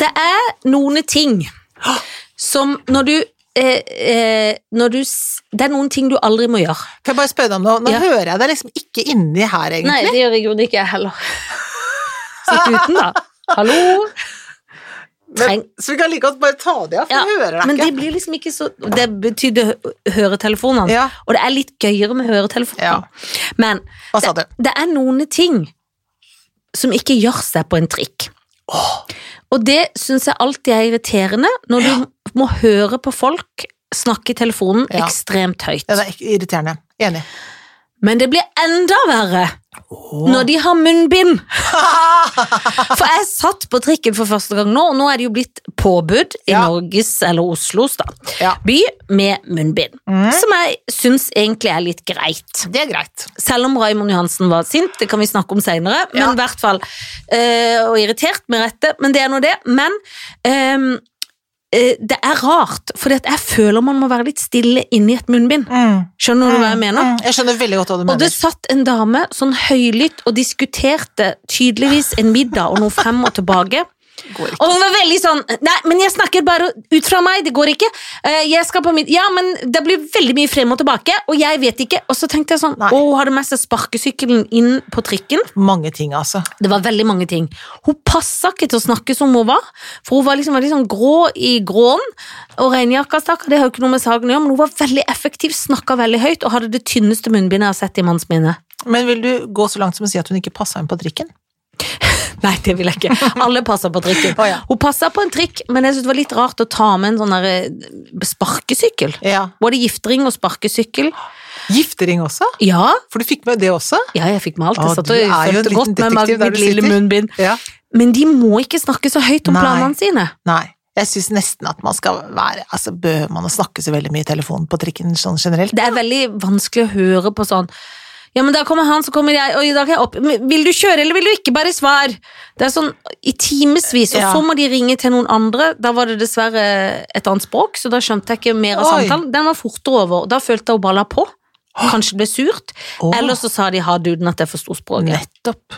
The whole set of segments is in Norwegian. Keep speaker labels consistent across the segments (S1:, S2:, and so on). S1: Det er noen ting som når du eh, eh, når du, s- det er noen ting du aldri må gjøre.
S2: Kan jeg bare spørre deg om noe? Nå
S1: Ja.
S2: hører jeg deg liksom ikke inni her,
S1: Nei,
S2: egentlig.
S1: det gjør jeg jo ikke jeg heller. Sitt uten, da. Hallo?
S2: men,
S1: treng-
S2: så vi kan like godt bare ta det av, for
S1: Ja,
S2: jeg hører deg
S1: Men
S2: ikke.
S1: det blir liksom ikke så Det betydde hø- høretelefonene.
S2: Ja.
S1: Og det er litt gøyere med
S2: Ja.
S1: høretelefoner. Men
S2: Hva sa du?
S1: det er noen ting som ikke gjør seg på en trikk. Og det syns jeg alltid er irriterende når du må høre på folk snakke i telefonen
S2: Ja.
S1: ekstremt høyt.
S2: Ja, det er ikke- irriterende. Enig.
S1: Men det blir enda verre når de har munnbind. For jeg satt på trikken for første gang nå, og nå er det jo blitt påbud i
S2: Ja.
S1: Norges, eller Oslos, da,
S2: Ja. Mm.
S1: by med munnbind. Som jeg syns egentlig er litt greit.
S2: Det er greit.
S1: Selv om Raymond Johansen var sint, det kan vi snakke om senere,
S2: Ja.
S1: men i hvert fall eh, Og irritert, med rette, men det er nå det. Men ehm, eh, det er rart, for jeg føler man må være litt stille inni et munnbind. Skjønner du hva jeg mener?
S2: Mm, Jeg skjønner veldig godt hva du
S1: Og det
S2: mener.
S1: satt en dame sånn høylytt og diskuterte tydeligvis en middag og noe frem og tilbake.
S2: Går ikke.
S1: Og hun var veldig sånn Nei, men jeg snakker bare ut fra meg, det går ikke. Eh, Jeg skal på mid Ja, men det blir veldig mye frem og tilbake, og jeg vet ikke. Og så tenkte jeg sånn
S2: Nei.
S1: Å, hun hadde med seg sparkesykkelen inn på trikken.
S2: Mange ting, altså.
S1: Det var veldig mange ting. Hun passa ikke til å snakke som hun var, for hun var liksom veldig sånn grå i gråen. Og regnjakka, stakkar, det har jo ikke noe med saken å gjøre, men hun var veldig effektiv, snakka veldig høyt og hadde det tynneste munnbindet jeg har sett i manns minne.
S2: Men vil du gå så langt som å si at hun ikke passa inn på trikken?
S1: Nei, det vil jeg ikke. Alle passer på trikken.
S2: Å, ja.
S1: Hun passa på en trikk, men jeg synes det var litt rart å ta med en sånn der eh, sparkesykkel.
S2: Ja.
S1: Både giftering og sparkesykkel.
S2: Giftering også?
S1: Ja,
S2: For du fikk med det også?
S1: ja jeg fikk med alt.
S2: Å,
S1: Jeg satt
S2: du
S1: og
S2: er jo
S1: fulgte
S2: en liten
S1: godt med meg
S2: detektiv der
S1: mitt
S2: du
S1: lille
S2: sitter.
S1: munnbind.
S2: Ja.
S1: Men de må ikke snakke så høyt om
S2: Nei.
S1: planene sine.
S2: Nei. Jeg syns nesten at man skal være Altså, bør man å snakke så veldig mye i telefonen på trikken sånn generelt?
S1: Det er veldig vanskelig å høre på sånn Ja, men da kommer han, så kommer jeg, og i dag er jeg opp Men Vil du kjøre, eller vil du ikke? Bare svar! Det er sånn i timevis, og
S2: Ja.
S1: så må de ringe til noen andre. Da var det dessverre et annet språk, så da skjønte jeg ikke mer av
S2: Oi.
S1: samtalen. Den var fortere over, og da følte jeg hun balla på. Kanskje det ble surt.
S2: Åh.
S1: Eller så sa de ha duden at jeg forsto språket.
S2: Nettopp.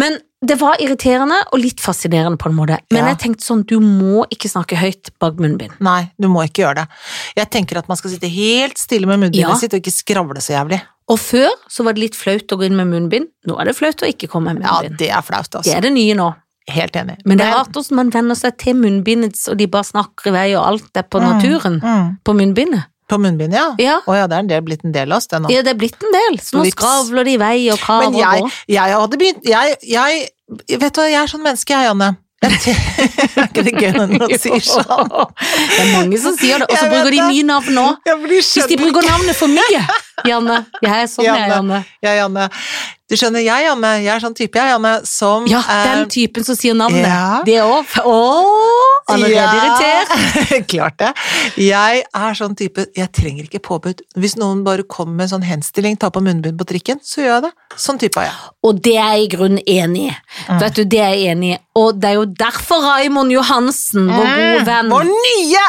S1: Men det var irriterende og litt fascinerende på en måte. Men
S2: Ja.
S1: jeg tenkte sånn, du må ikke snakke høyt bak munnbind.
S2: Nei, du må ikke gjøre det. Jeg tenker at man skal sitte helt stille med munnbindet
S1: Ja.
S2: sitt og ikke skravle så jævlig.
S1: Og før så var det litt flaut å gå inn med munnbind. Nå er det flaut å ikke komme med
S2: Ja,
S1: munnbind.
S2: det er flaut,
S1: Det
S2: altså.
S1: er det nye nå.
S2: Helt enig.
S1: Men det er rart hvordan man venner seg til munnbindet, og de bare snakker i vei, og alt er på naturen.
S2: mm,
S1: På munnbindet.
S2: På munnbind, ja?
S1: Ja.
S2: Å ja, det er en del, blitt en del av oss, det nå.
S1: Ja, det er blitt en del, så nå
S2: Vips.
S1: skravler de i vei og kaver
S2: Men jeg,
S1: og går.
S2: jeg hadde begynt jeg, jeg, Vet du hva, jeg er sånn menneske, jeg, Janne. Jeg te- Er ikke det gøy når noen sier sånn?
S1: Det er mange som sier det, og så
S2: Jeg vet
S1: bruker de
S2: det.
S1: nye navn nå.
S2: Ja, for de
S1: Hvis de
S2: skjønner
S1: bruker navnet for mye, Janne. Jeg er sånn, jeg,
S2: Janne.
S1: Janne.
S2: Ja, Janne. Du skjønner, jeg, Janne, jeg er sånn type, jeg, Janne, som eh,
S1: Ja,
S2: er-
S1: den typen som sier navnet.
S2: Ja.
S1: Det er òg Ååå! Allerede irritert.
S2: irritert. Klart det. Jeg er sånn type Jeg trenger ikke påbud. Hvis noen bare kommer med en sånn henstilling, ta på munnbind på trikken, så gjør jeg det. Sånn type er jeg.
S1: Og det er jeg i grunnen enig i.
S2: Mm.
S1: Vet du, det er jeg enig i. Og det er jo derfor Raymond Johansen, vår gode venn
S2: Mm. Vår nye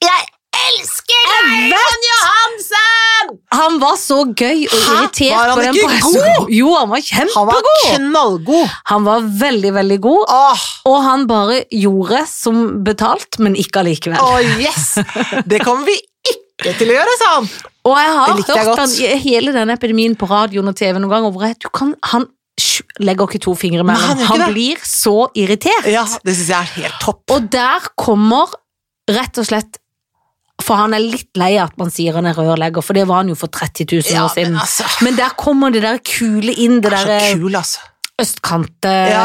S2: Jeg
S1: elsker Raymond Johansen! Han var så gøy og
S2: Hæ?
S1: irritert.
S2: Var han
S1: på den
S2: ikke
S1: pressen.
S2: god?
S1: Jo, han var
S2: Han var
S1: kjempegod.
S2: knallgod!
S1: Han var veldig, veldig god,
S2: Åh,
S1: og han bare gjorde som betalt, men ikke allikevel.
S2: åh, yes! Det kommer vi ikke til å gjøre, sa han!
S1: Og jeg har
S2: Det likte jeg
S1: hørt han,
S2: godt.
S1: i hele denne epidemien på radioen og TV noen ganger hvor jeg, du kan, han sj- legger ikke to fingre
S2: Nei, han
S1: mellom.
S2: gjør
S1: Han,
S2: ikke det.
S1: blir så irritert.
S2: Ja, det syns jeg er helt topp.
S1: Og der kommer rett og slett For han er litt lei av at man sier han er rørlegger, for det var han jo for 30 000
S2: Ja,
S1: år siden.
S2: men altså
S1: Men der kommer det der kule inn, det
S2: det er
S1: der eh,
S2: så kul, altså.
S1: østkante
S2: Ja,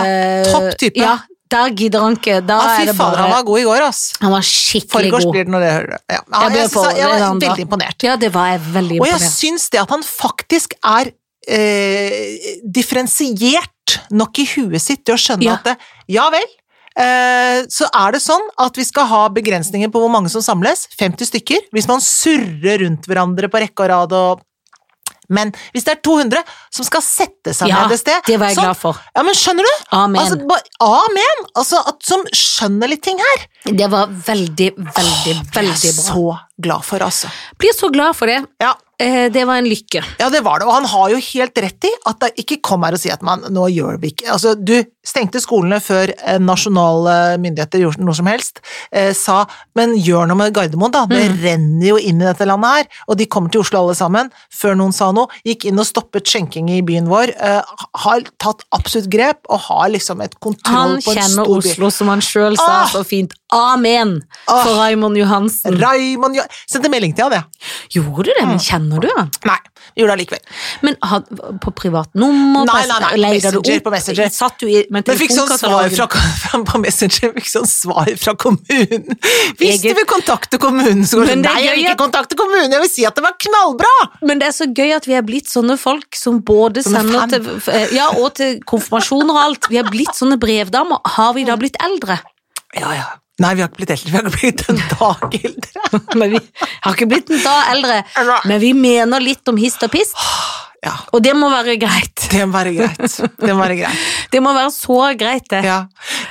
S2: topp type.
S1: eh, Ja, der gidder han ikke. Da
S2: Ja,
S1: er
S2: fy
S1: det
S2: fader,
S1: bare
S2: han var god i går, ass.
S1: Han var skikkelig
S2: Forgårs
S1: god.
S2: blir det når det hører det. Ja. Ja,
S1: Jeg ble
S2: Ah, jeg,
S1: på-
S2: synes, jeg
S1: det er
S2: var
S1: han da.
S2: veldig imponert.
S1: Ja, det var jeg veldig
S2: Og jeg
S1: imponert.
S2: syns det at han faktisk er eh, differensiert nok i huet sitt til å skjønne
S1: Ja.
S2: at det, ja vel, eh, så er det sånn at vi skal ha begrensninger på hvor mange som samles, 50 stykker, hvis man surrer rundt hverandre på rekke og rad og men hvis det er 200 som skal sette seg
S1: Ja,
S2: ned et sted
S1: det var jeg
S2: sånn-
S1: glad for.
S2: Ja, men skjønner du?
S1: Amen.
S2: Altså, ba, amen! Altså, at, som skjønner litt ting her.
S1: Det var veldig, veldig,
S2: Det er
S1: veldig
S2: jeg
S1: bra.
S2: så glad for, altså.
S1: Blir så glad for det.
S2: Ja.
S1: Eh, det var en lykke.
S2: Ja, det var det, og han har jo helt rett i at det ikke kom her og si at man, nå gjør vi ikke Altså, du stengte skolene før eh, nasjonale myndigheter gjorde noe som helst, eh, sa men gjør noe med Gardermoen, da, det
S1: Mm.
S2: renner jo inn i dette landet her, og de kommer til Oslo alle sammen, før noen sa noe, gikk inn og stoppet skjenking i byen vår, eh, har tatt absolutt grep, og har liksom et kontroll
S1: Han
S2: på en
S1: kjenner
S2: stor by. Ah!
S1: Oslo, som han sjøl sa
S2: Åh!
S1: så fint. Amen! For Raymond Johansen.
S2: Raymond Jo- Sendte melding til han, jeg.
S1: Gjorde du det?
S2: Mm.
S1: Men kjenner du han?
S2: Nei, gjorde det allikevel.
S1: Men had, på privat nummer?
S2: Nei,
S1: på-
S2: nei, nei, på
S1: leide du
S2: Messenger,
S1: opp?
S2: på Messenger.
S1: Satt du i, med
S2: Men fikk sånn svar
S1: telefonkatalogen?
S2: fra, fra, på Messenger fikk sånn svar fra kommunen. Hvis du
S1: Eget-
S2: vil kontakte kommunen, så går det
S1: Men
S2: sånn
S1: det er
S2: Nei, jeg vil
S1: gøy
S2: ikke kontakte kommunen, jeg vil si at det var knallbra!
S1: Men det er så gøy at vi er blitt sånne folk som både
S2: Som en
S1: sender
S2: fan.
S1: til f- Ja, og til konfirmasjoner og alt. Vi er blitt sånne brevdamer. Har vi da blitt eldre?
S2: Ja, ja. Nei, vi har ikke blitt eldre, vi har ikke blitt en dag eldre.
S1: Men vi har ikke blitt da eldre.
S2: Nei.
S1: Men vi mener litt om hist og pist,
S2: Ja,
S1: og det må være greit.
S2: det må være greit. Det må være greit.
S1: Det må være så greit, det.
S2: Ja.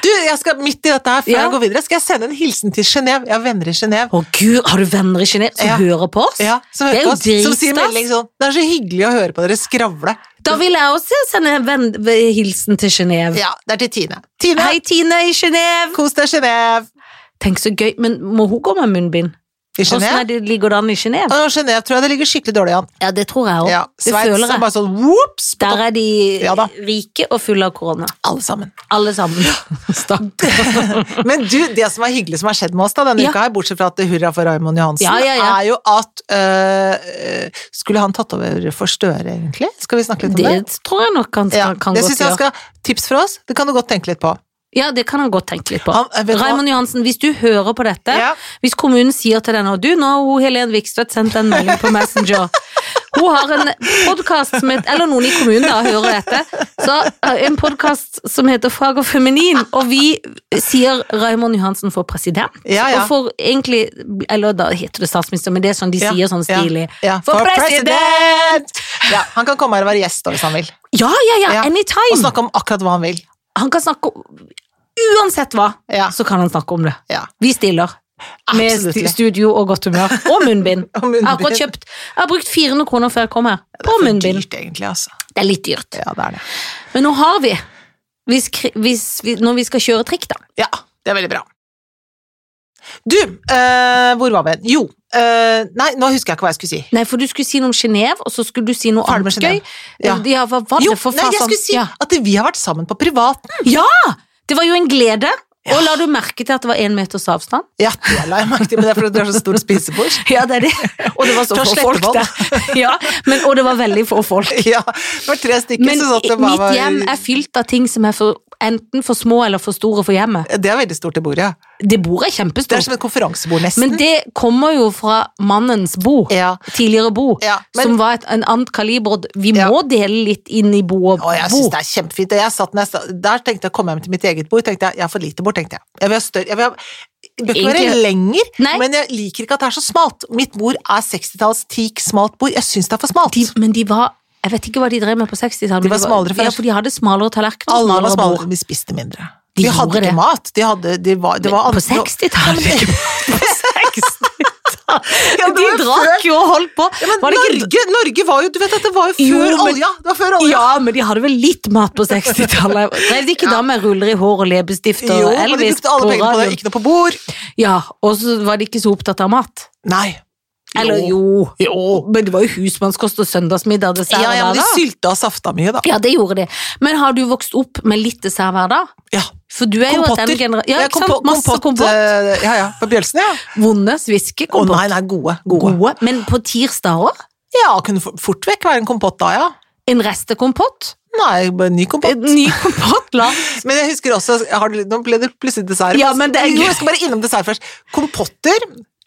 S2: Du, jeg skal midt i dette her, før
S1: Ja.
S2: jeg går videre, skal jeg sende en hilsen til Genéve. Jeg har venner i Genéve.
S1: Å gud, har du venner i Genéve som
S2: Ja.
S1: hører på oss?
S2: Ja, som,
S1: det
S2: hører
S1: er
S2: på
S1: jo
S2: oss, som sier melding
S1: dritstas.
S2: sånn Det er så hyggelig å høre på dere skravle.
S1: Da vil jeg også sende en venn, eh, hilsen til Genéve.
S2: Ja, det er til Tine. Tine,
S1: Hei, Tine i Genéve!
S2: kos deg, Genéve.
S1: Tenk så gøy, men må hun gå med munnbind?
S2: I
S1: Åssen
S2: Genéve?
S1: er det- ligger det an i Genéve?
S2: Og Genéve tror jeg det ligger skikkelig dårlig an.
S1: Ja, det tror jeg òg.
S2: Ja,
S1: det
S2: Sveits
S1: føler
S2: er
S1: jeg.
S2: bare sånn whoops, på
S1: Der er de
S2: Ja da.
S1: rike og fulle av korona.
S2: topp, alle sammen.
S1: Alle sammen. Stakkar.
S2: Men du, det som er hyggelig som har skjedd med oss da denne
S1: Ja.
S2: uka her, bortsett fra at det hurra for Raymond Johansen,
S1: Ja, ja, ja.
S2: er jo at øh, øh, Skulle han tatt over for Støre, egentlig? Skal vi snakke litt om det?
S1: Det tror jeg nok han
S2: Ja,
S1: skal, kan
S2: det
S1: godt
S2: syns jeg
S1: gjøre.
S2: skal Tips fra oss, det kan du godt tenke litt på.
S1: Ja, det kan han godt tenke litt på.
S2: Han- jeg vet hva-
S1: Raymond Johansen, hvis du hører på dette,
S2: Ja.
S1: hvis kommunen sier til denne, og du, nå har hun Helen Vikstvedt sendt en melding på Messenger. Hun har en podkast som heter Eller noen i kommunen da hører dette. Så eh, en podkast som heter Fag og feminin, og vi sier Raymond Johansen for president.
S2: Ja, ja.
S1: Og for egentlig Eller da heter det statsminister, men det er sånn de
S2: Ja,
S1: sier sånn
S2: ja,
S1: stilig.
S2: ja.
S1: For, president!
S2: Ja, han kan komme her og være gjest da, hvis han vil.
S1: Ja, ja, ja,
S2: Ja, Og
S1: anytime!
S2: snakke om akkurat hva han vil.
S1: Han kan snakke om Uansett hva,
S2: Ja.
S1: så kan han snakke om det.
S2: Ja.
S1: Vi stiller. Med
S2: Absolutt.
S1: sti- studio og godt humør. Og munnbind.
S2: Og munnbind.
S1: Jeg har akkurat kjøpt Jeg har brukt 400 kroner før jeg kom her. På
S2: For
S1: munnbind.
S2: Dyrt, egentlig, altså.
S1: Det er litt dyrt.
S2: Ja, det er det.
S1: Men nå har vi. Hvis, kri- hvis vi, når vi skal kjøre trikk, da.
S2: Ja, det er veldig bra. Du, eh, hvor var vi? Jo, eh, nei, nå husker jeg ikke hva jeg skulle si.
S1: Nei, for du skulle si noe om Genéve, og så skulle du si noe
S2: Ferdig med
S1: annet gøy. Eh,
S2: Genève. Ja.
S1: Ja, hva var
S2: Jo,
S1: det for
S2: nei, jeg
S1: fasen?
S2: skulle si
S1: ja.
S2: at vi har vært sammen på privaten.
S1: ja! Det var jo en glede. Og la du merke til at det var én meters avstand?
S2: Ja, det la jeg merke til, men det er fordi det er så stort spisebord.
S1: Ja, det er det. Og det var så
S2: Fra
S1: få folk
S2: Slettevold.
S1: der. Ja, men, og det var veldig få folk.
S2: Ja, det var tre stykker
S1: Men
S2: som satt det bare
S1: mitt
S2: var-
S1: hjem er fylt av ting som er for, enten for små eller for store for hjemmet.
S2: Det er veldig stort, det bordet.
S1: Det bordet er
S2: Det er
S1: kjempestort,
S2: som et konferansebord, nesten.
S1: men det kommer jo fra mannens bo.
S2: Ja.
S1: Tidligere bo,
S2: Ja, men-
S1: som var et en annet kaliber. og Vi
S2: Ja.
S1: må dele litt inn i bo og
S2: Å, jeg
S1: bo.
S2: syns det er kjempefint. Og Jeg satt når jeg sta- der tenkte jeg, kom hjem til mitt eget bord, tenkte jeg, jeg har for lite bord, tenkte jeg. Jeg vil ha større, jeg vil ha, det bør ikke være
S1: Egentlig-
S2: lenger,
S1: Nei.
S2: men jeg liker ikke at det er så smalt. Mitt bord er 60-talls teak, smalt bord. Jeg syns det er for smalt.
S1: De, men de var Jeg vet ikke hva de drev med på 60-tallet. men
S2: var smalere før.
S1: Ja, for de hadde smalere tallerkener og
S2: Alle var
S1: smalere
S2: smalere,
S1: bord.
S2: vi spiste mindre.
S1: De
S2: De vi hadde
S1: gjorde
S2: ikke
S1: det.
S2: mat. De hadde, de var, det var
S1: På
S2: andre-
S1: 60-tallet! På 60-tallet.
S2: Ja, det
S1: De
S2: var jo før-
S1: drakk jo og holdt på.
S2: Ja, men
S1: Var det ikke
S2: Norge, Norge var jo Du vet at det var jo
S1: Jo,
S2: før
S1: men-
S2: olja! Det var før olja.
S1: Ja, men de hadde vel litt mat på 60-tallet. Drev de ikke da med ruller i hår og leppestift og
S2: jo, men de
S1: Elvis
S2: brukte alle pengene på det.
S1: radioen?
S2: Ikke noe på bord.
S1: Ja, og så var de ikke så opptatt av mat.
S2: Nei.
S1: Eller jo, men det var jo husmannskost og søndagsmiddag og dessert
S2: Ja, ja, men
S1: hver
S2: de
S1: dag.
S2: sylta og safta mye, da.
S1: Ja, det gjorde de. Men har du vokst opp med litt dessert hver dag?
S2: Ja.
S1: For du er jo av
S2: Kompotter.
S1: den genera- Ja,
S2: Ja,
S1: ikke sant?
S2: kompo-
S1: Masse kompott.
S2: eh, Ja, ja. På Bjølsen, ja.
S1: Vonde
S2: Å
S1: sviskekompott.
S2: nei, nei, gode. Gode.
S1: Gode. Men på tirsdager òg?
S2: Ja, kunne for- fort vekk være en kompott da, ja.
S1: En restekompott?
S2: Nei, bare en ny kompott.
S1: En ny kompott? La
S2: Men jeg husker også har du, Nå ble det plutselig dessert.
S1: Ja, men det er
S2: Jo,
S1: gøy.
S2: jeg skal bare innom dessert først. Kompotter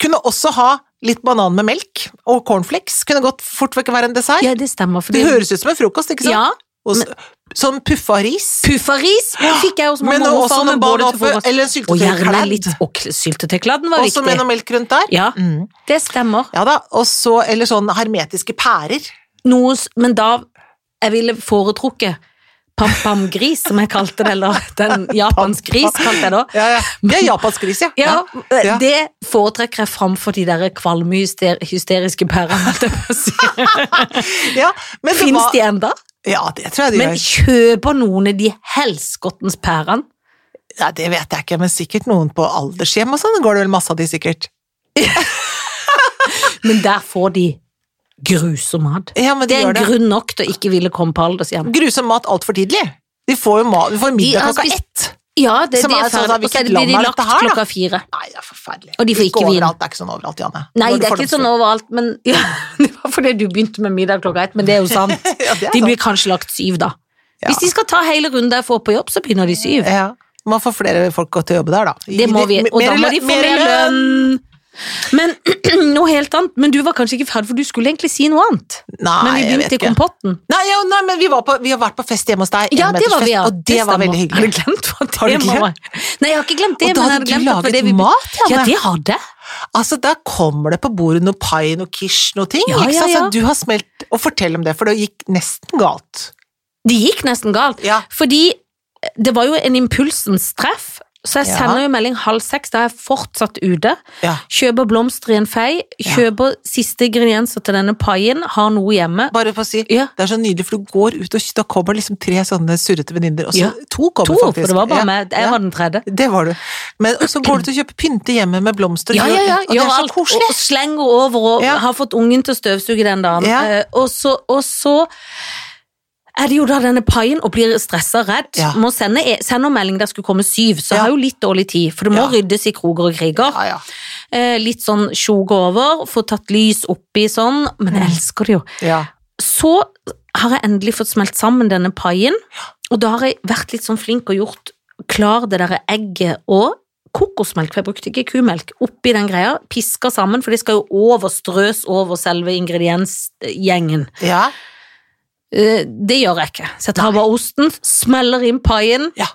S2: kunne også ha litt banan med melk, og cornflakes kunne godt fort vekk være en dessert.
S1: Ja, det stemmer. For
S2: Det høres ut som en frokost, ikke sant?
S1: Ja.
S2: Og så- sånn puffa ris.
S1: Puffaris fikk jeg jo som
S2: Men
S1: mormor og
S2: også
S1: far med
S2: noen
S1: både til
S2: barnoffer,
S1: frokost.
S2: eller en
S1: Og
S2: syltetøy
S1: gjerne
S2: kladd.
S1: litt og kl- syltetøykladden var
S2: Også med noe
S1: viktig.
S2: melk rundt der.
S1: Ja,
S2: Mm.
S1: det stemmer.
S2: Ja da, og så, eller sånn hermetiske pærer.
S1: Noe, s- men da jeg ville foretrukket pam-pam-gris, som jeg kalte det, eller den japansk gris, kalte jeg da.
S2: Ja, ja. Vi er japansk gris, ja.
S1: Ja, eh,
S2: Ja.
S1: Det foretrekker jeg framfor de der kvalmehysteriske pærene.
S2: ja. Men det
S1: Fins
S2: var-
S1: de enda?
S2: Ja, det tror jeg de
S1: Men
S2: gjør.
S1: kjøper noen av de helskottens pærene?
S2: Ja, det vet jeg ikke, men sikkert noen på aldershjem og sånn går det vel masse av de, sikkert.
S1: Men der får de grusom mat.
S2: Ja, men de
S1: Det er
S2: gjør
S1: en
S2: det.
S1: grunn nok til å ikke ville komme på aldershjem.
S2: Grusom mat altfor tidlig. De får jo mat, de får middag
S1: har
S2: klokka
S1: spist-
S2: ett.
S1: Ja, det,
S2: Som
S1: de
S2: er
S1: er
S2: sånn, da,
S1: ferdig, og så
S2: hvilket
S1: er det- blir de
S2: land er
S1: lagt
S2: dette her, da?
S1: klokka fire.
S2: Nei, det er forferdelig.
S1: Og de får ikke vin.
S2: overalt. Det er ikke sånn overalt, Janne.
S1: Nei,
S2: Nå
S1: det er ikke sånn overalt, men ja, Det var fordi du begynte med middag klokka ett, men det er jo sant.
S2: fordomsfull. ja, det er
S1: De
S2: sant.
S1: blir kanskje lagt syv, da.
S2: Ja.
S1: Hvis de skal ta hele runden jeg får på jobb, så begynner de syv.
S2: ja. Man får flere folk til å jobbe der, da.
S1: Det må vi, og da må de få mer lønn. Men noe helt annet, men du var kanskje ikke ferdig, for du skulle egentlig si noe annet.
S2: Nei,
S1: men vi
S2: jeg vet
S1: begynte i
S2: ikke.
S1: kompotten.
S2: Nei, ja, nei, men vi, var på, vi har vært på fest hjemme hos deg.
S1: Ja, det var vi, ja.
S2: enmetersfest, Og det, var
S1: stemmer.
S2: veldig
S1: Har du
S2: hyggelig.
S1: glemt hva
S2: Har du
S1: det
S2: glemt?
S1: var? Nei, jeg har ikke glemt det,
S2: Og da
S1: men jeg
S2: hadde
S1: hadde glemt at
S2: du
S1: det var
S2: laget
S1: det vi
S2: mat, Janne.
S1: Ja, det hadde jeg.
S2: Altså, der kommer det på bordet noe pai, noe quiche, noe ting.
S1: Ja,
S2: ikke
S1: ja,
S2: sant?
S1: ja.
S2: Så du har smelt Og fortell om det, for det gikk nesten galt.
S1: Det gikk nesten galt.
S2: Ja.
S1: Fordi det var jo en impulsens treff, så jeg
S2: Ja.
S1: sender jo melding halv seks, da er jeg fortsatt ute.
S2: ja.
S1: Kjøper blomster i en fei, kjøper siste ingredienser til denne paien, har noe hjemme.
S2: Bare for å si,
S1: Ja.
S2: det er så nydelig, for du går ut, og da kommer liksom tre sånne surrete venninner. Og så
S1: Ja.
S2: to kommer
S1: To,
S2: faktisk.
S1: for det var bare
S2: Ja,
S1: meg. Jeg
S2: ja.
S1: var den tredje.
S2: Det var du. Men og så går du til å kjøpe pynte hjemme med blomster.
S1: Ja,
S2: og
S1: ja, ja.
S2: Og det
S1: Gjør
S2: er så
S1: alt.
S2: koselig.
S1: Og slenger over og
S2: Ja.
S1: har fått ungen til å støvsuge den dagen.
S2: Ja.
S1: Eh, og, så, og så er det jo da denne paien og blir stressa og redd.
S2: Ja.
S1: Må sende, e- sender melding der skulle komme syv, så
S2: Ja.
S1: jeg har jo litt dårlig tid, for det må
S2: Ja.
S1: ryddes i kroger og kriger.
S2: Ja, ja.
S1: Eh, litt sånn tjog over, få tatt lys oppi sånn, men jeg elsker det jo.
S2: ja.
S1: Så har jeg endelig fått smelt sammen denne paien, og da har jeg vært litt sånn flink og gjort klar det derre egget og kokosmelk, for jeg brukte ikke kumelk, oppi den greia, piska sammen, for det skal jo overstrøs over selve ingrediensgjengen.
S2: ja.
S1: Eh, Det gjør jeg ikke. Så jeg tar bare osten, smeller inn paien.
S2: Ja.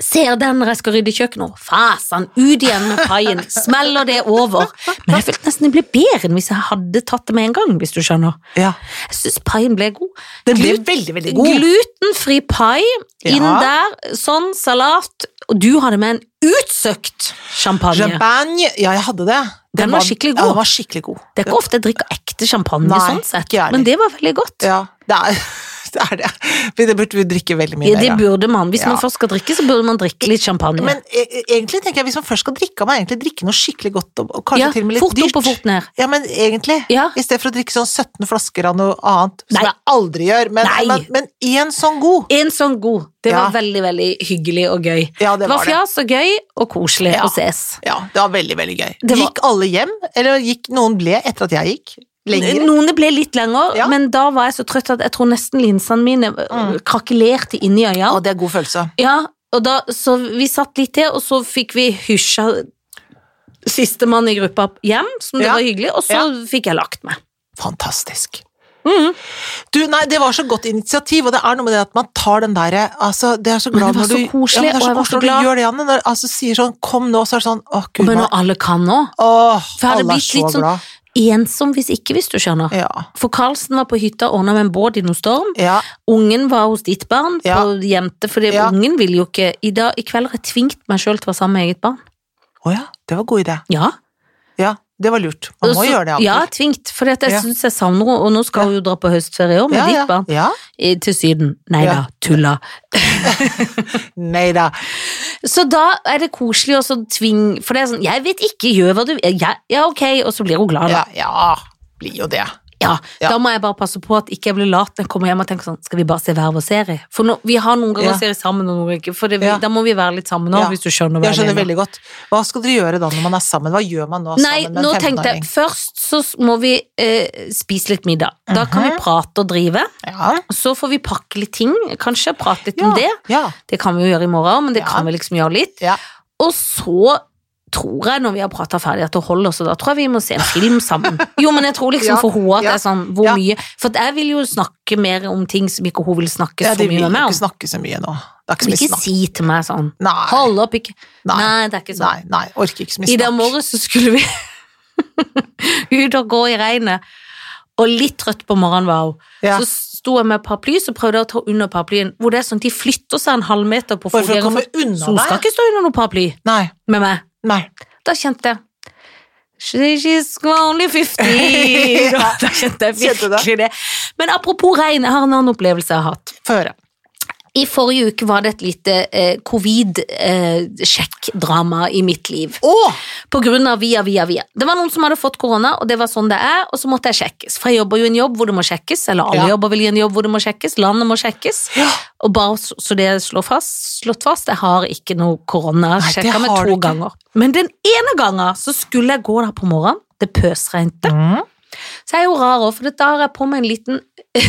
S1: Ser den når jeg skal rydde kjøkkenet, og fasan, ut igjen med paien. Smeller det over. Men jeg følte nesten det ble bedre enn hvis jeg hadde tatt det med en gang, hvis du skjønner.
S2: ja.
S1: Jeg syns paien ble god.
S2: Den ble
S1: Glut-
S2: veldig, veldig god.
S1: Glutenfri pai, inn
S2: Ja.
S1: der, sånn, salat. Og du hadde med en utsøkt champagne.
S2: Champagne. Ja, jeg hadde det.
S1: Den var skikkelig god.
S2: Ja, den var skikkelig god.
S1: Det er ikke ofte jeg drikker ekte champagne,
S2: Nei,
S1: sånn sett.
S2: ikke jeg heller.
S1: men det var veldig godt.
S2: Ja, det er det. Er det. Men det burde vi drikke veldig mye
S1: Ja, det
S2: mer.
S1: burde man. Hvis
S2: Ja.
S1: man først skal drikke, så burde man drikke litt champagne.
S2: Ja. Men e e- egentlig tenker jeg, hvis man først skal drikke, man egentlig drikke noe skikkelig godt, og og kanskje
S1: ja,
S2: til og med litt
S1: fort
S2: dyrt.
S1: opp og fort ned.
S2: Ja, men egentlig.
S1: Ja.
S2: I stedet for å drikke sånn 17 flasker av noe annet,
S1: Nei.
S2: som jeg aldri gjør. Men,
S1: Nei.
S2: men, men én sånn god.
S1: En sånn god. Det
S2: Ja.
S1: var veldig, veldig hyggelig og gøy.
S2: Ja,
S1: Det
S2: det
S1: var
S2: var det.
S1: fjas og gøy og koselig
S2: Ja.
S1: å ses.
S2: Ja, det var veldig, veldig gøy.
S1: Det var-
S2: Gikk alle hjem? Eller gikk noen ble etter at jeg gikk? Lenger?
S1: Noen det ble litt lenger,
S2: Ja. Mm.
S1: men da var jeg så trøtt at jeg tror nesten linsene mine øh, krakelerte inni øynene.
S2: Å, det er god følelse.
S1: Ja, og da, så vi satt litt til, og så fikk vi hysja sistemann i gruppa hjem, som det
S2: Ja.
S1: var hyggelig, og så fikk jeg lagt meg. Mm.
S2: Fantastisk. Du, nei, det var så godt initiativ, og det er noe med det at man tar den derre altså, Det er så
S1: Men det
S2: glad
S1: var
S2: når du
S1: så koselig,
S2: men det er
S1: og jeg var så
S2: når
S1: glad.
S2: Du gjør det, Janne, når, altså, sier sånn 'kom nå', så er det sånn 'å, gud,
S1: Men når
S2: nå
S1: alle kan nå.
S2: Åh,
S1: For jeg hadde
S2: alle er
S1: blitt
S2: så
S1: litt sånn-
S2: glad.
S1: Ensom hvis ikke, hvis du skjønner.
S2: Ja.
S1: For Karlsen var på hytta og ordna med en båt i noen storm.
S2: ja.
S1: Ungen var hos ditt barn,
S2: Ja.
S1: på jente, fordi
S2: Ja.
S1: ungen vil jo ikke I, dag, I kveld har jeg tvingt meg sjøl til å være sammen med eget barn.
S2: Å ja, det var god idé.
S1: Ja.
S2: Ja, det var lurt. Man må
S1: Og så-
S2: gjøre det. av og
S1: Ja,
S2: til.
S1: tvingt. For jeg
S2: Ja.
S1: synes syns jeg savner henne, og nå skal hun jo dra på høstferie i år med
S2: ja,
S1: ditt
S2: ja.
S1: barn.
S2: Ja.
S1: I- Til Syden. Nei
S2: Ja.
S1: da, tulla.
S2: Nei da.
S1: Så da er det koselig å sånn tving For det er sånn, jeg vet ikke, gjør hva du Ja, ja ok, og så blir hun glad, da.
S2: Ja, ja, blir jo det.
S1: Ja.
S2: Ja.
S1: Da må jeg bare passe på at ikke jeg blir lat når jeg kommer hjem og tenker sånn Skal vi bare se hver vår serie? For nå, vi har noen ganger
S2: Ja.
S1: serier sammen, og noen ganger ikke. For det, vi,
S2: Ja.
S1: da må vi være litt sammen nå,
S2: Ja.
S1: hvis du skjønner hva
S2: Jeg skjønner
S1: mener.
S2: veldig godt. Hva skal dere gjøre da når man er sammen? Hva gjør man nå
S1: Nei,
S2: sammen med
S1: nå
S2: en
S1: tenkte jeg
S2: 15-åring?
S1: først så må vi eh, spise litt middag. Da kan
S2: Mhm.
S1: vi prate og drive.
S2: Ja.
S1: Så får vi pakke litt ting, kanskje prate litt om
S2: Ja,
S1: det.
S2: ja,
S1: Det kan vi jo gjøre i morgen, men det
S2: Ja.
S1: kan vi liksom gjøre litt.
S2: ja.
S1: Og så tror jeg, når vi har prata ferdig, at det holder, så da tror jeg vi må se en film sammen. Jo, men jeg tror liksom
S2: Ja,
S1: for henne at det
S2: ja,
S1: er sånn hvor
S2: ja.
S1: mye For at jeg vil jo snakke mer om ting som ikke hun vil snakke
S2: ja
S1: så
S2: de vil
S1: mye
S2: jo
S1: med meg
S2: ikke
S1: om.
S2: snakke så mye nå. Det er ikke
S1: Ikke,
S2: så mye snakk.
S1: si til meg sånn
S2: Nei,
S1: Hold opp, ikke Nei,
S2: nei,
S1: det er ikke sånn.
S2: nei, nei. Orker ikke så mye
S1: I dag
S2: snakk.
S1: morges så skulle vi ut og gå i regnet. og litt trøtt på morgenen var hun.
S2: Ja.
S1: Så sto jeg med paraply, så prøvde jeg å ta under paraplyen. Hvor det er sånn, de flytter seg en halv meter på
S2: Bare for å
S1: fotgjenger-
S2: komme unna
S1: Så hun skal
S2: deg.
S1: ikke stå under noen paraply
S2: Nei.
S1: med meg.
S2: Nei.
S1: Da kjente jeg She, She's only 50
S2: Ja.
S1: Da kjente jeg
S2: Kjente du det?
S1: virkelig det. Men apropos regn, jeg har en annen opplevelse jeg har hatt.
S2: Få høre.
S1: I forrige uke var det et lite eh, covid-sjekk-drama i mitt liv.
S2: Å!
S1: På grunn av via, via, via. Det var noen som hadde fått korona, og det var sånn det er, og så måtte jeg sjekkes. For jeg jobber jo i en jobb hvor det må sjekkes, eller alle
S2: Ja.
S1: jobber vil i en jobb hvor det må sjekkes, landet må sjekkes.
S2: Ja.
S1: Og bare så så det er slått fast, slått fast, jeg har ikke noe korona.
S2: Nei, det
S1: Sjekka meg
S2: har du
S1: to
S2: ikke.
S1: ganger. Men den ene gangen så skulle jeg gå der på morgenen, det pøsregnet.
S2: Mm.
S1: Så jeg er jo rar òg, for da har jeg på meg en liten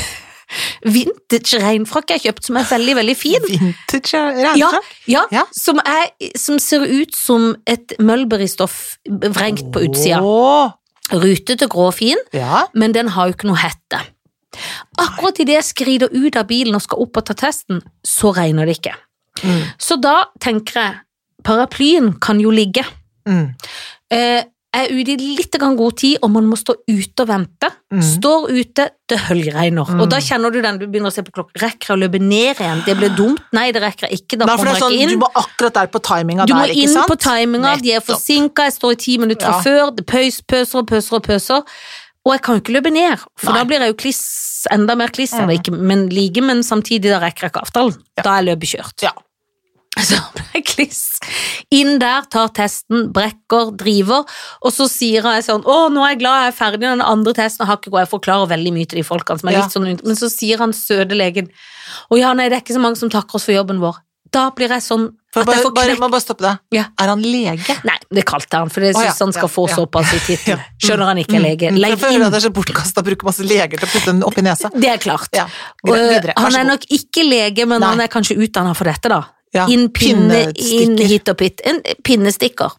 S1: vintage regnfrakk jeg har kjøpt, som er veldig, veldig fin.
S2: Vintage
S1: Ja,
S2: regnfrakk.
S1: ja,
S2: Ja.
S1: Som, er, som ser ut som et mulberrystoff vrengt på utsida.
S2: Å.
S1: Rutete, grå og fin,
S2: Ja.
S1: men den har jo ikke noe hette. Akkurat idet jeg skrider ut av bilen og skal opp og ta testen, så regner det ikke.
S2: Mm.
S1: Så da tenker jeg, paraplyen kan jo ligge.
S2: Mm.
S1: Eh, jeg er ute i litt grann god tid, og man må stå ute og vente.
S2: Mm.
S1: Står ute, det høljregner.
S2: Mm.
S1: Og da kjenner du den, du begynner å se på klokka. Rekker jeg å løpe ned igjen? Det blir dumt. Nei, det rekker jeg ikke. Da
S2: Nei, for
S1: kommer
S2: det er
S1: jeg
S2: sånn,
S1: ikke
S2: du
S1: inn.
S2: må akkurat der på timinga
S1: Du må
S2: der, ikke
S1: inn
S2: sant?
S1: på timinga, de er forsinka, jeg står i ti minutter fra
S2: Ja.
S1: før, det pøs, pøser og pøser og pøser. Og jeg kan jo ikke løpe ned, for
S2: Nei. Mm.
S1: da blir jeg jo kliss, enda mer kliss, eller ikke men like, men samtidig da rekker jeg ikke avtalen.
S2: Ja.
S1: Da er løpet kjørt.
S2: Ja.
S1: Så ble jeg kliss. Inn der, tar testen, brekker, driver, og så sier jeg sånn Å, nå er jeg glad jeg er ferdig, den andre testen har ikke gått, jeg forklarer veldig mye til de folkene som er
S2: Ja.
S1: litt sånn rundt, men så sier han søte legen Å ja, nei, det er ikke så mange som takker oss for jobben vår. Da blir jeg sånn
S2: For
S1: at jeg
S2: bare,
S1: får
S2: bare,
S1: knekk.
S2: må bare stoppe deg.
S1: Ja.
S2: Er han lege?
S1: Nei, det kalte han, for det
S2: Å, ja,
S1: synes han skal
S2: ja,
S1: få
S2: ja.
S1: såpass i tittelen. Skjønner han ikke er lege.
S2: Mm,
S1: Legg
S2: jeg føler
S1: inn.
S2: at det er så bortkasta å bruke masse leger til å putte den opp i nesa.
S1: Det er klart.
S2: Ja,
S1: Og,
S2: videre, videre. Vær
S1: han
S2: så
S1: er
S2: god.
S1: nok ikke lege, men
S2: Nei.
S1: han er kanskje utdanna for dette, da.
S2: Ja,
S1: Inn pinne,
S2: pinnestikker. Mm.
S1: inn hit og pitt. En pinnestikker.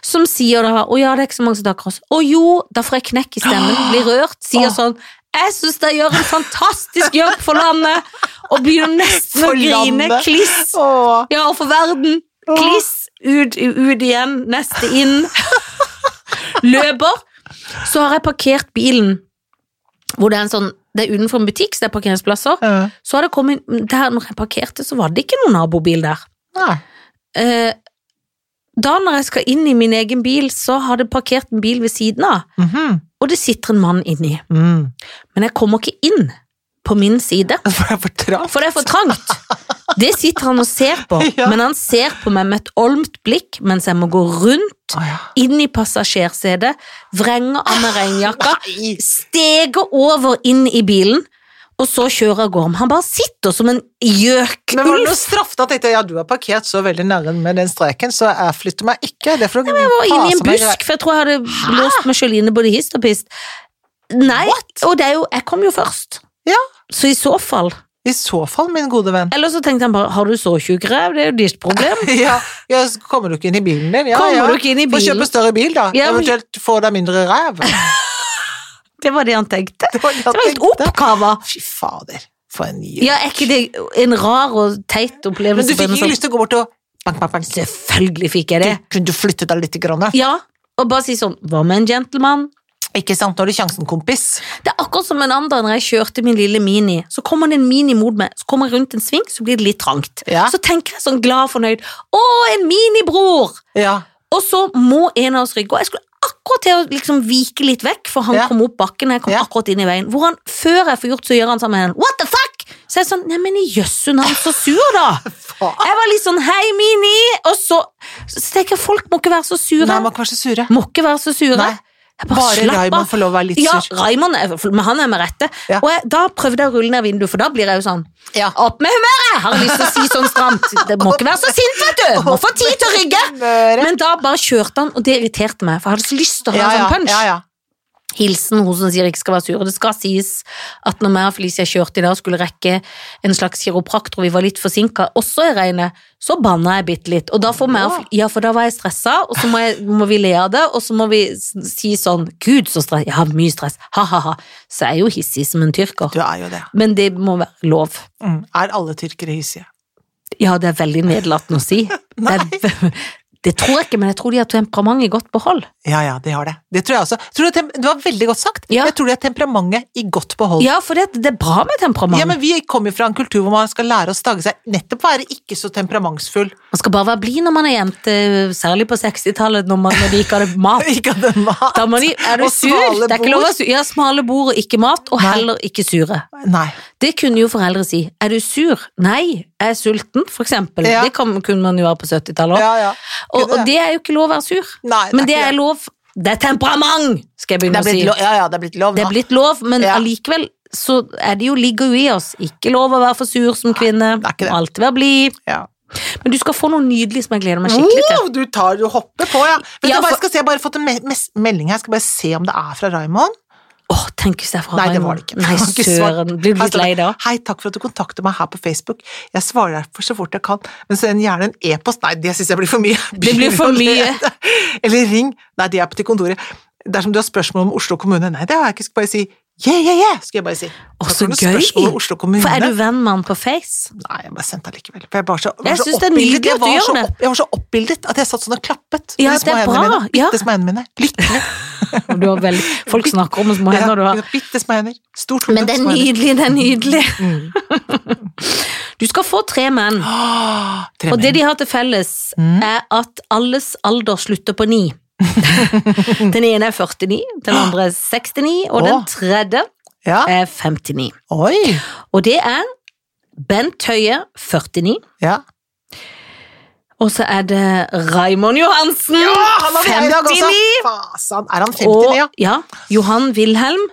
S1: Som sier da 'Å ja, det er ikke så mange som takker oss'. Å jo, da får jeg knekk i stemmen, blir rørt, sier
S2: Åh.
S1: sånn 'Jeg syns dere gjør en fantastisk jobb for landet', og begynner nesten å
S2: For
S1: grine.
S2: landet.
S1: Kliss.
S2: Åh.
S1: Ja, og for verden. Kliss, ut, ut igjen, neste inn. Løper. Så har jeg parkert bilen, hvor det er en sånn Det er utenfor en butikk, så det er parkeringsplasser.
S2: Eh,
S1: Så har det kommet Der når jeg parkerte, så var det ikke noen nabobil der.
S2: Nei.
S1: Eh, da når jeg skal inn i min egen bil, så har det parkert en bil ved siden av,
S2: Mhm.
S1: og det sitter en mann inni.
S2: Mm.
S1: Men jeg kommer ikke inn på min side.
S2: For det er for travelt.
S1: For det er for trangt. Det sitter han og ser på,
S2: Ja.
S1: men han ser på meg med et olmt blikk mens jeg må gå rundt,
S2: Å, ja.
S1: inn i passasjersetet, vrenge av meg regnjakka,
S2: Nei.
S1: stege over inn i bilen, og så kjører jeg av gårde. Han bare sitter som en gjøk.
S2: Men var det noe straff da? Tenkte jeg, ja, du har parkert så veldig nærme med den streken, så jeg flytter meg ikke. Det er for å
S1: Jeg var inne i en
S2: pase meg grei-
S1: busk, for jeg tror jeg hadde blåst meg selv inne både hist og pist. Nei, og det er jo, jeg kom jo først.
S2: Ja.
S1: Så i så fall.
S2: I så fall, min gode venn.
S1: Eller så tenkte han bare, har du så tjukk ræv? Det er jo ditt problem.
S2: Ja, ja, så kommer du ikke inn i bilen din? Ja,
S1: Kommer
S2: ja.
S1: du ikke inn i
S2: Få
S1: bilen?
S2: kjøpe større bil, da.
S1: Ja, men-
S2: Eventuelt få deg mindre ræv.
S1: Det var det han tenkte.
S2: Det var det jeg
S1: Det var helt
S2: tenkte.
S1: oppkava.
S2: Fy fader, for en ny
S1: Ja, er ikke det en rar og teit
S2: Men
S1: opplevelse?
S2: du
S1: på
S2: fikk
S1: en
S2: ikke
S1: sånn-
S2: lyst til å gå bort og bank, bank, bank.
S1: Selvfølgelig fikk jeg det.
S2: Kunne du flyttet deg litt? Grann, da?
S1: Ja, og bare si sånn, hva med en gentleman?
S2: Ikke sant, nå har du sjansen, kompis.
S1: Det er akkurat som en annen dag når jeg kjørte min lille mini. Så kommer det en mini mot meg, så kommer jeg rundt en sving, så blir det litt trangt.
S2: Ja.
S1: Så tenker jeg sånn glad og fornøyd, å, en minibror!
S2: Ja.
S1: Og så må en av oss rygge, og jeg skulle akkurat til å liksom vike litt vekk, for han
S2: Ja.
S1: kom opp bakken, jeg kom
S2: Ja.
S1: akkurat inn i veien. Hvor han, før jeg får gjort, så gjør han sammen med henne, what the fuck? Så jeg er sånn, nei, men i jøssen, han er så sur da.
S2: Faen.
S1: Jeg var litt sånn 'hei, Mini', og så, så tenker jeg folk må ikke være så sure.
S2: Nei, man kan være så sure.
S1: må ikke være så sure.
S2: Nei.
S1: Jeg bare,
S2: Bare
S1: slapp
S2: Raymond
S1: av.
S2: får lov å være litt
S1: Ja,
S2: sur.
S1: Raymond, er- for- men han er med rette.
S2: Ja.
S1: Og jeg, da prøvde jeg å rulle ned vinduet, for da blir jeg jo sånn
S2: Ja.
S1: Opp med humøret! Har jeg lyst til å si sånn stramt. Det må ikke være så sint, vet du! Må få tid til å rygge!
S2: Møre.
S1: Men da bare kjørte han, og det irriterte meg, for jeg hadde så lyst til å ha
S2: Ja,
S1: en
S2: ja,
S1: sånn punch.
S2: ja, ja.
S1: Hilsen hun som sier ikke skal være sur. Og det skal sies at når jeg og Felicia kjørte i dag, skulle rekke en slags kiropraktor, og vi var litt forsinka, også i regnet, så banna jeg bitte litt. Og da får meg og Fel- Ja, for da var jeg stressa, og så må, jeg, må vi le av det, og så må vi s- si sånn Gud, så stress. Jeg har mye stress. Ha-ha-ha. Så jeg er jo hissig som en tyrker.
S2: Du er jo det.
S1: Men det må være lov.
S2: Mm. Er alle tyrkere hissige?
S1: Ja, det er veldig nedlatende å si. Det er, Det tror jeg ikke, men jeg tror de har temperamentet i godt behold.
S2: Ja, ja, de har det. Det tror jeg også. Tror du, at tem- det var veldig godt sagt.
S1: Ja.
S2: Jeg tror de har temperamentet i godt behold.
S1: Ja, for det, det er bra med temperament.
S2: Ja, men Vi kommer jo fra en kultur hvor man skal lære å stagge seg. Nettopp være ikke så temperamentsfull.
S1: Man skal bare være blid når man er jente, særlig på 60-tallet, når, man- når de ikke hadde mat.
S2: Ikke hadde mat.
S1: Da må de, er du
S2: Og
S1: sur?
S2: smale
S1: Det er ikke lov å være
S2: bord.
S1: sur. Ja, smale bord og ikke mat, og
S2: Nei.
S1: heller ikke sure.
S2: Nei.
S1: Det kunne jo foreldre si. Er du sur? Nei, jeg er sulten, for eksempel.
S2: Ja.
S1: Det kan, kunne man jo være på 70-tallet også.
S2: Ja, ja.
S1: og,
S2: Kunne
S1: og det er jo ikke lov å være sur.
S2: Nei,
S1: Men det
S2: ikke
S1: er lov Det er temperament, skal jeg begynne
S2: Det er
S1: å si.
S2: blitt lov. Ja, ja, det er blitt lov.
S1: Det
S2: nå.
S1: er blitt lov, men
S2: Ja.
S1: allikevel så er det jo, ligger jo i oss. Ikke lov å være for sur som kvinne.
S2: det er ikke det.
S1: Må Alltid være blid.
S2: ja.
S1: Men du skal få noe nydelig som jeg gleder meg skikkelig til.
S2: Wow, du tar du hopper på, ja. Vet
S1: Ja,
S2: du hva,
S1: for-
S2: jeg, skal se, jeg har bare fått en me mes- melding her. Jeg skal bare se om det er fra Raymond.
S1: Åh, tenk hvis det er fra
S2: Mm. Nei, det
S1: Raymond.
S2: var det ikke.
S1: Nei,
S2: Jeg har ikke Altså, svart.
S1: søren. Blir du
S2: Her
S1: litt
S2: står
S1: lei
S2: det,
S1: da?
S2: Hei, takk for at du kontakter meg her på Facebook. Jeg svarer derfor så fort jeg kan, men send gjerne en e-post. Nei, det syns jeg blir for mye.
S1: Det blir for mye.
S2: Eller ring. Nei, de er på til kontoret. Dersom du har spørsmål om Oslo kommune Nei, det har jeg ikke. Skal bare si yeah, yeah, yeah, skal jeg bare si.
S1: Åh,
S2: Da
S1: så
S2: får du
S1: gøy!
S2: spørsmål om Oslo kommune.
S1: For er du venn med han på Face?
S2: Nei, jeg bare sendte allikevel. For jeg var så, var
S1: Jeg
S2: så
S1: synes det er nydelig
S2: oppbildet.
S1: at
S2: Jeg
S1: du
S2: var
S1: gjør
S2: så
S1: det.
S2: opp- Jeg var så oppbildet at jeg satt sånn og klappet.
S1: Ja,
S2: med de små
S1: det er
S2: hendene
S1: bra.
S2: mine.
S1: Ja.
S2: Bitte små hendene mine. Lykkelig.
S1: Og Du har veldig, folk snakker om hvor små hender du har.
S2: Bitte små hender. Stort hode.
S1: Men det er
S2: små hender.
S1: nydelig, det er nydelig.
S2: Mm.
S1: Du skal få tre menn,
S2: Åh, tre
S1: og det
S2: menn.
S1: de har til felles,
S2: Mm.
S1: er at alles alder slutter på ni. Den ene er 49, den andre er 69, og den
S2: Åh.
S1: tredje
S2: Ja.
S1: er 59.
S2: Oi!
S1: Og det er Bent Høie, 49.
S2: Ja.
S1: Og så er det Raimond Johansen,
S2: han har vi her i dag også.
S1: 59.
S2: Fasan, er han 59,
S1: Og
S2: ja?
S1: ja, Johan Wilhelm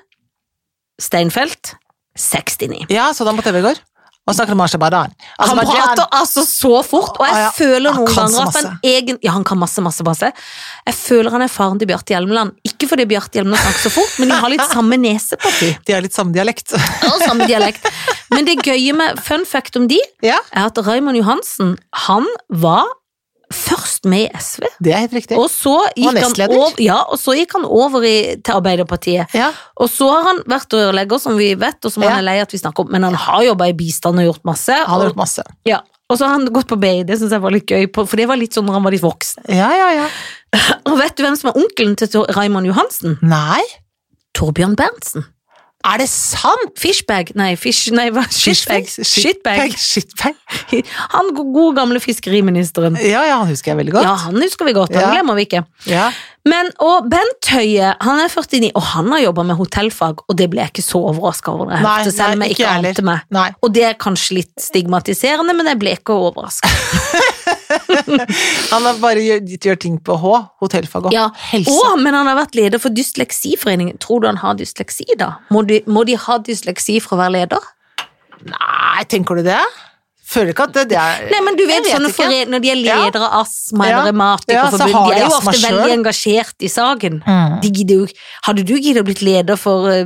S1: Steinfeld, 69.
S2: Ja, så da på TV-gård. Og snakker om Aserbajdsjan.
S1: Han prater altså så fort, og jeg
S2: Ah, ja.
S1: føler
S2: Han
S1: noen
S2: kan så
S1: ganger at han
S2: masse.
S1: egen... Ja, han kan masse, masse, masse. Jeg føler han er faren til Bjarte Hjelmeland. Ikke fordi Bjarte Hjelmeland snakker så fort, men de har litt samme neseparti
S2: De har litt samme dialekt.
S1: og samme dialekt. Men det gøye med fun fact om de,
S2: ja,
S1: er at Raymond Johansen, han var først med i SV,
S2: det er helt riktig.
S1: og så gikk han
S2: nestleder.
S1: over, ja, og så gikk han over i, til Arbeiderpartiet.
S2: Ja.
S1: Og så har han vært rørlegger, som vi vet, og som
S2: Ja.
S1: han er lei at vi snakker om, men han har jobba i bistand og gjort masse.
S2: Han har
S1: og,
S2: gjort masse.
S1: ja. og så har han gått på BI, det syns jeg var litt gøy, på- for det var litt sånn når han var litt voksen.
S2: Ja, ja, ja.
S1: Og vet du hvem som er onkelen til Tor- Raymond Johansen?
S2: Nei,
S1: Torbjørn Berntsen.
S2: er det sant?!
S1: Fishbag, nei, fish, nei hva? Shitbag. Shitbag.
S2: Shitbag. Shitbag.
S1: Han go- gode gamle fiskeriministeren.
S2: Ja, ja, han husker jeg veldig godt.
S1: Ja, han husker vi godt, han
S2: Ja.
S1: glemmer vi ikke.
S2: Ja.
S1: Men, og Bent Høie, han er 49, og han har jobba med hotellfag, og det ble jeg ikke så overraska over, når jeg
S2: Nei,
S1: hørte, selv om
S2: nei,
S1: jeg
S2: ikke
S1: ikke
S2: jeg heller.
S1: ante meg.
S2: Nei.
S1: Og det er kanskje litt stigmatiserende, men jeg ble ikke overraska.
S2: Han har bare gjør, gjør ting på H. Hotellfag og
S1: Ja.
S2: helse.
S1: Å, men han har vært leder for Dysleksiforeningen. Tror du han har dysleksi, da? Må de, må de ha dysleksi for å være leder?
S2: Nei, tenker du det? Føler ikke at det, det er
S1: Nei, men du vet,
S2: Jeg vet
S1: sånne
S2: ikke.
S1: foren- Når de er ledere av Astma-
S2: Ja.
S1: eller Revmatikerforbundet,
S2: Ja, så har
S1: de
S2: de
S1: er jo
S2: astma
S1: ofte
S2: selv.
S1: veldig engasjert i saken.
S2: Mm.
S1: De gidder jo, hadde du giddet å blitt leder for eh,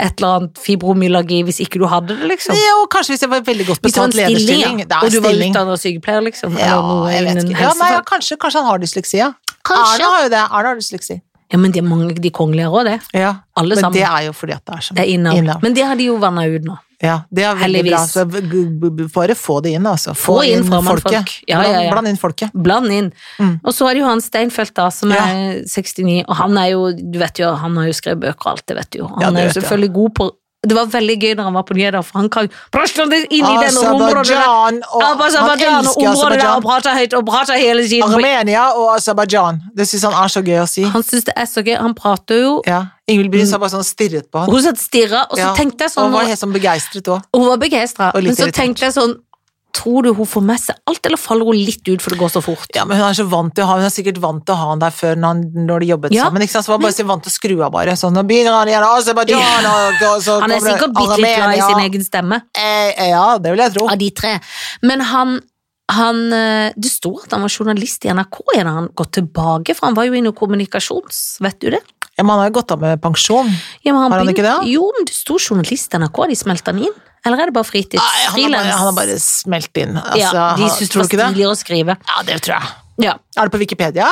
S1: et eller annet fibromyalgi hvis ikke du hadde det, liksom?
S2: Jo, kanskje hvis jeg var veldig godt
S1: Hvis det var en
S2: betalt lederstilling.
S1: stilling,
S2: Det
S1: ja.
S2: er
S1: Og du var
S2: stilling.
S1: utdannet sykepleier, liksom?
S2: Ja,
S1: eller noe
S2: jeg vet
S1: innen
S2: ikke. Ja, nei, ja,
S1: helsefag.
S2: kanskje, kanskje han har dysleksi, ja.
S1: Kanskje.
S2: Arne har jo det. Arne har dysleksi.
S1: Ja, men det er mange de kongelige òg, det.
S2: Ja.
S1: Alle
S2: Men
S1: sammen.
S2: det er jo fordi at det er sånn.
S1: Det er innavl.
S2: Innavl.
S1: Men det har de jo vanna ut nå.
S2: Ja, det er veldig bra.
S1: Heldigvis.
S2: Så b- b- b- bare få det inn, altså. Få,
S1: Få inn
S2: inn
S1: fremmedfolk.
S2: folket.
S1: Ja, ja, ja.
S2: Bland, bland inn folket.
S1: Bland inn.
S2: Mm.
S1: Og så er det jo han Steinfeld, da, som
S2: Ja.
S1: er 69, og han er jo Du vet jo, han har jo skrevet bøker og alt, det vet du jo. Han
S2: Ja, det
S1: er jo
S2: vet jeg.
S1: selvfølgelig god på Det var veldig gøy når han var på nyheter, for han kan jo Prøsla det inn i den området der!
S2: Aserbajdsjan og
S1: Aserbajdsjan og området der, og
S2: Aserbajdsjan.
S1: prater høyt og prater hele tiden.
S2: Armenia og Aserbajdsjan. Det syns han er så gøy å si.
S1: Han syns det er så gøy. Han prater jo
S2: Ja. Ingvild Bryn sa bare sånn stirret på han.
S1: Hun satt stirra, og så
S2: Ja,
S1: tenkte jeg
S2: Og
S1: sånn
S2: var helt sånn begeistret òg.
S1: Hun var begeistra,
S2: Og litt
S1: men så
S2: irritert.
S1: tenkte jeg sånn Tror du hun får med seg alt, eller faller hun litt ut for det går så fort?
S2: Ja, men hun er så vant til å ha Hun er sikkert vant til å ha han der før når, han, når de jobbet
S1: Ja.
S2: sammen. Ikke sant? Så var hun bare så vant til å skru av, bare. Sånn, nå begynner han igjen Aserbajdsjan og, og så
S1: Han er
S2: kommer det
S1: sikkert bitte litt glad i
S2: Armenia.
S1: sin egen stemme.
S2: Eh, eh, ja, det vil jeg tro.
S1: av de tre. Men han, han eh, Det sto at han var journalist i NRK igjen, har han gått tilbake? For han var jo inne i kommunikasjons, vet du det?
S2: Ja, men han har jo gått av med pensjon.
S1: Ja, men
S2: Har han ikke det?
S1: Jo, men det sto journalist i NRK, de smelte han inn. Eller er det bare fritids?
S2: Nei, han, har bare,
S1: Frilans?
S2: han har bare smelt inn. Altså,
S1: Ah, ja, de
S2: han-
S1: syntes det
S2: tror
S1: var
S2: du ikke det?
S1: stiligere å skrive.
S2: Ja, det tror jeg.
S1: Ja.
S2: Er det på Wikipedia?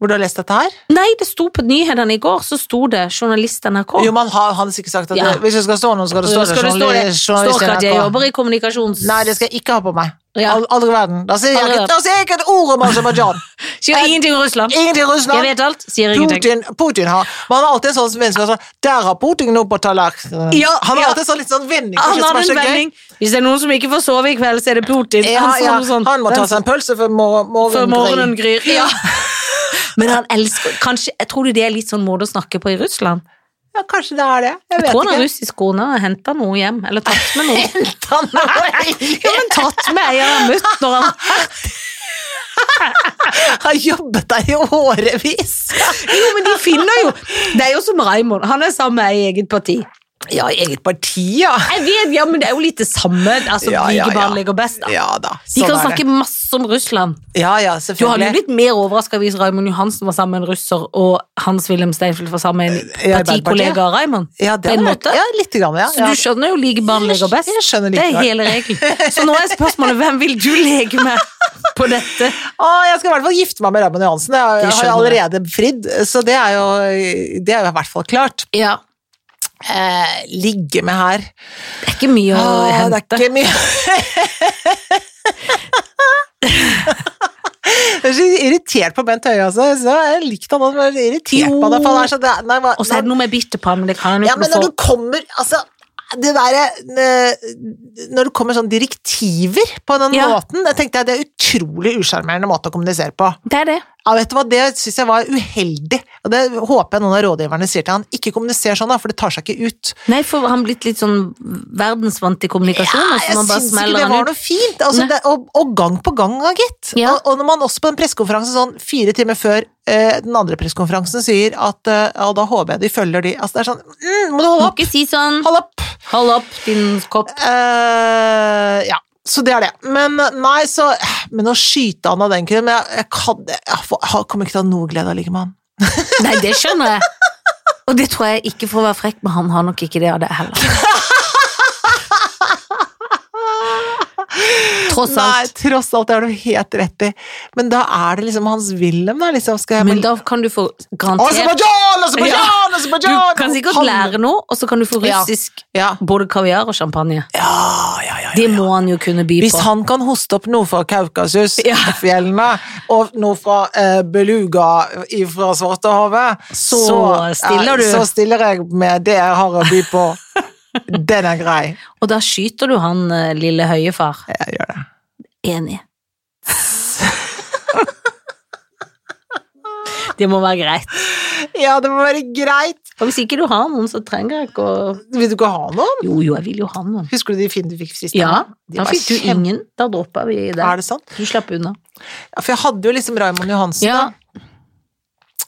S2: Hvor du har lest dette her?
S1: Nei, det sto på nyhetene i går, så sto det journalist NRK.
S2: Jo, men han han har sikkert sagt at
S1: Ja.
S2: det, hvis det skal stå noe, skal det stå
S1: Skal det stå det?
S2: journalist-
S1: Står ikke at jeg
S2: NRK.
S1: jobber i kommunikasjons...
S2: Nei, det skal jeg ikke ha på meg.
S1: Ja.
S2: All, all verden. Da sier jeg,
S1: All
S2: ikke- da sier jeg ikke et ord om Aserbajdsjan.
S1: Sier ingenting om Russland.
S2: Ingenting om
S1: Jeg
S2: Russland.
S1: vet alt, sier ingenting.
S2: Putin, Putin har Man har alltid en sånn vending som er sånn Der har Putin noe på tallerkenen.
S1: Ja,
S2: han har
S1: ja.
S2: alltid en sånn litt sånn vending.
S1: Han
S2: kanskje, som
S1: har
S2: er så
S1: en
S2: gøy.
S1: vending. Hvis det er noen som ikke får sove i kveld, så er det Putin.
S2: Ja,
S1: Han sånn. sa
S2: ja.
S1: noe sånt.
S2: Han må ta seg en pølse før mor
S1: Før
S2: morgenen
S1: morgenen
S2: gryr.
S1: gryr. Ja. Men han elsker kanskje, jeg Tror du det er litt sånn måte å snakke på i Russland?
S2: Ja, kanskje det er det. Jeg
S1: Jeg
S2: vet
S1: tror han har
S2: ikke.
S1: russisk kone og henta noe hjem. Eller tatt med noe.
S2: Han
S1: Ja, men tatt med ei han har møtt når han
S2: har jobbet der i årevis.
S1: Jo, men de finner jo Det er jo som Raymond. Han er sammen med ei i eget parti.
S2: Ja, i eget parti, ja.
S1: Jeg vet, ja, men det er jo litt det samme. Altså,
S2: Ja, ja,
S1: Vigebarn
S2: ja.
S1: ligger best, da.
S2: Ja da.
S1: De kan
S2: sånn er
S1: snakke
S2: det.
S1: masse om Russland.
S2: Ja, ja,
S1: Du hadde jo
S2: selvfølgelig.
S1: blitt mer overraska hvis Raymond Johansen var sammen med en russer, og Hans-Wilhelm Steinfeld var sammen med en
S2: Arbeiderpartiet.
S1: partikollega av Raymond.
S2: Ja,
S1: på
S2: det
S1: en
S2: hadde
S1: måte.
S2: vært- Ja, litt grann, ja.
S1: Så
S2: ja.
S1: du skjønner jo like barn leker best.
S2: Jeg skjønner
S1: det er
S2: likevel.
S1: hele regelen. Så nå er spørsmålet hvem vil du leke med på dette?
S2: Å, jeg skal i hvert fall gifte meg med Raymond Johansen. Jeg har-
S1: Det
S2: Jeg har
S1: skjønner jeg.
S2: allerede fridd, så det er jo, det er jo i hvert fall klart.
S1: Ja,
S2: Eh, ligge med her
S1: det er ikke mye å
S2: Å,
S1: hente.
S2: Ah, Det er ikke mye Jeg er så irritert på Bent Høie, altså. Så jeg likte han også, men jeg er irritert på han. for han er så- det- nei, hva-
S1: Og så er det noe med bitterpann, men det kan han jo
S2: Ja,
S1: ikke
S2: men
S1: noe
S2: når du
S1: for.
S2: kommer Altså, det derre eh, Når det kommer sånne direktiver på den
S1: Ja.
S2: måten, jeg tenkte jeg det er utrolig usjarmerende måte å kommunisere på.
S1: Det er det.
S2: Ja, vet du hva, Det syns jeg var uheldig, og det håper jeg noen av rådgiverne sier til han. Ikke kommuniser sånn, da, for det tar seg ikke ut.
S1: Nei, for han blitt litt sånn verdensvant i kommunikasjon, og så
S2: jeg
S1: man bare
S2: syns ikke
S1: smeller
S2: det var
S1: han ut.
S2: noe fint. Altså,
S1: Nei.
S2: det, og, og gang på gang, da, gitt.
S1: Ja.
S2: Og, og når man også på en pressekonferanse sånn fire timer før eh, den andre pressekonferansen sier at eh, ja, da håper jeg de følger de Altså, det er sånn mm, Må du
S1: Må
S2: holde opp?
S1: ikke si sånn
S2: Hold opp!
S1: Hold opp din kopp.
S2: Eh, ja, så det er det. Men eh, nei, så Men å skyte han av den køen Jeg, jeg, kan, jeg, får- jeg kommer ikke til å ha noe glede av å ligge med han.
S1: Nei, det skjønner jeg. Og det tror jeg ikke for å være frekk, men han har nok ikke det av det heller. Tross
S2: Nei,
S1: alt.
S2: tross alt, det har du helt rett i. Men da er det liksom Hans Wilhelm, da. Liksom, skal jeg
S1: Men da kan du få garantert
S2: Aserbajdsjan! Aserbajdsjan!
S1: Du
S2: Aserbajdsjan!
S1: kan sikkert
S2: Han-
S1: lære noe, og så kan du få
S2: Ja.
S1: russisk
S2: Ja.
S1: både kaviar og champagne.
S2: Ja, ja, ja, ja.
S1: Det må han jo kunne by
S2: Hvis
S1: på.
S2: han kan hoste opp noe fra
S1: Ja.
S2: Kaukasusfjellene, og noe fra eh, Beluga i- fra Svartehavet,
S1: Så
S2: så,
S1: stiller du.
S2: så stiller jeg med det jeg har å by på. Den er grei.
S1: Og da skyter du han eh, lille høye far.
S2: Jeg gjør det.
S1: Enig. Det må være greit.
S2: Ja, det må være greit.
S1: Og hvis ikke du har noen, så trenger jeg ikke å
S2: Vil du ikke ha noen?
S1: Jo, jo, jeg vil jo ha noen.
S2: Husker du de fine du fikk sist?
S1: Ja,
S2: De
S1: da
S2: var
S1: fikk du
S2: kjempe-
S1: ingen. Da droppa vi
S2: Er
S1: det.
S2: det sant?
S1: Du slapp unna.
S2: Ja, for jeg hadde jo liksom Raymond Johansen,
S1: Ja,
S2: da.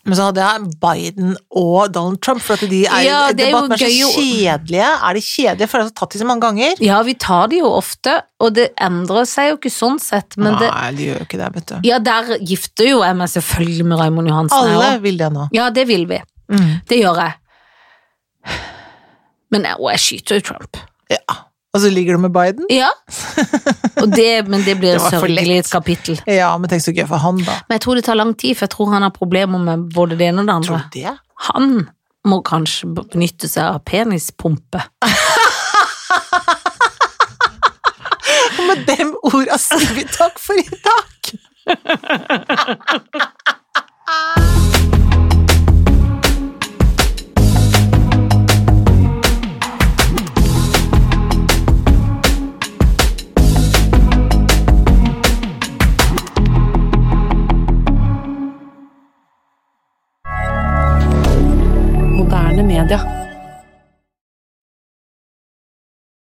S2: Men så hadde jeg Biden og Donald Trump, for at de er,
S1: Ja, det er jo
S2: debatten
S1: gøy
S2: så
S1: å-
S2: kjedelige. Er de kjedelige? For jeg har tatt de så mange ganger.
S1: ja, vi tar det jo ofte, og det endrer seg jo ikke sånn sett, men det
S2: Nei, de gjør jo ikke det, vet du.
S1: Ja, der gifter jo jeg meg selvfølgelig med Raymond Johansen. jeg
S2: Alle
S1: også.
S2: vil det nå.
S1: Ja, det vil vi.
S2: Mm.
S1: Det gjør jeg. Men jeg, og jeg skyter jo Trump.
S2: Ja. Og så ligger du med Biden?
S1: Ja. Og det, men det blir
S2: Det
S1: et
S2: var for
S1: sørgelig
S2: lett.
S1: et kapittel.
S2: Ja, men tenk så gøy for han, da.
S1: Men jeg tror det tar lang tid, for jeg tror han har problemer med både det ene og det andre.
S2: Tror du det?
S1: Han må kanskje b- benytte seg av penispumpe.
S2: Og med dem orda sier vi takk for i dag!
S3: Moderne media.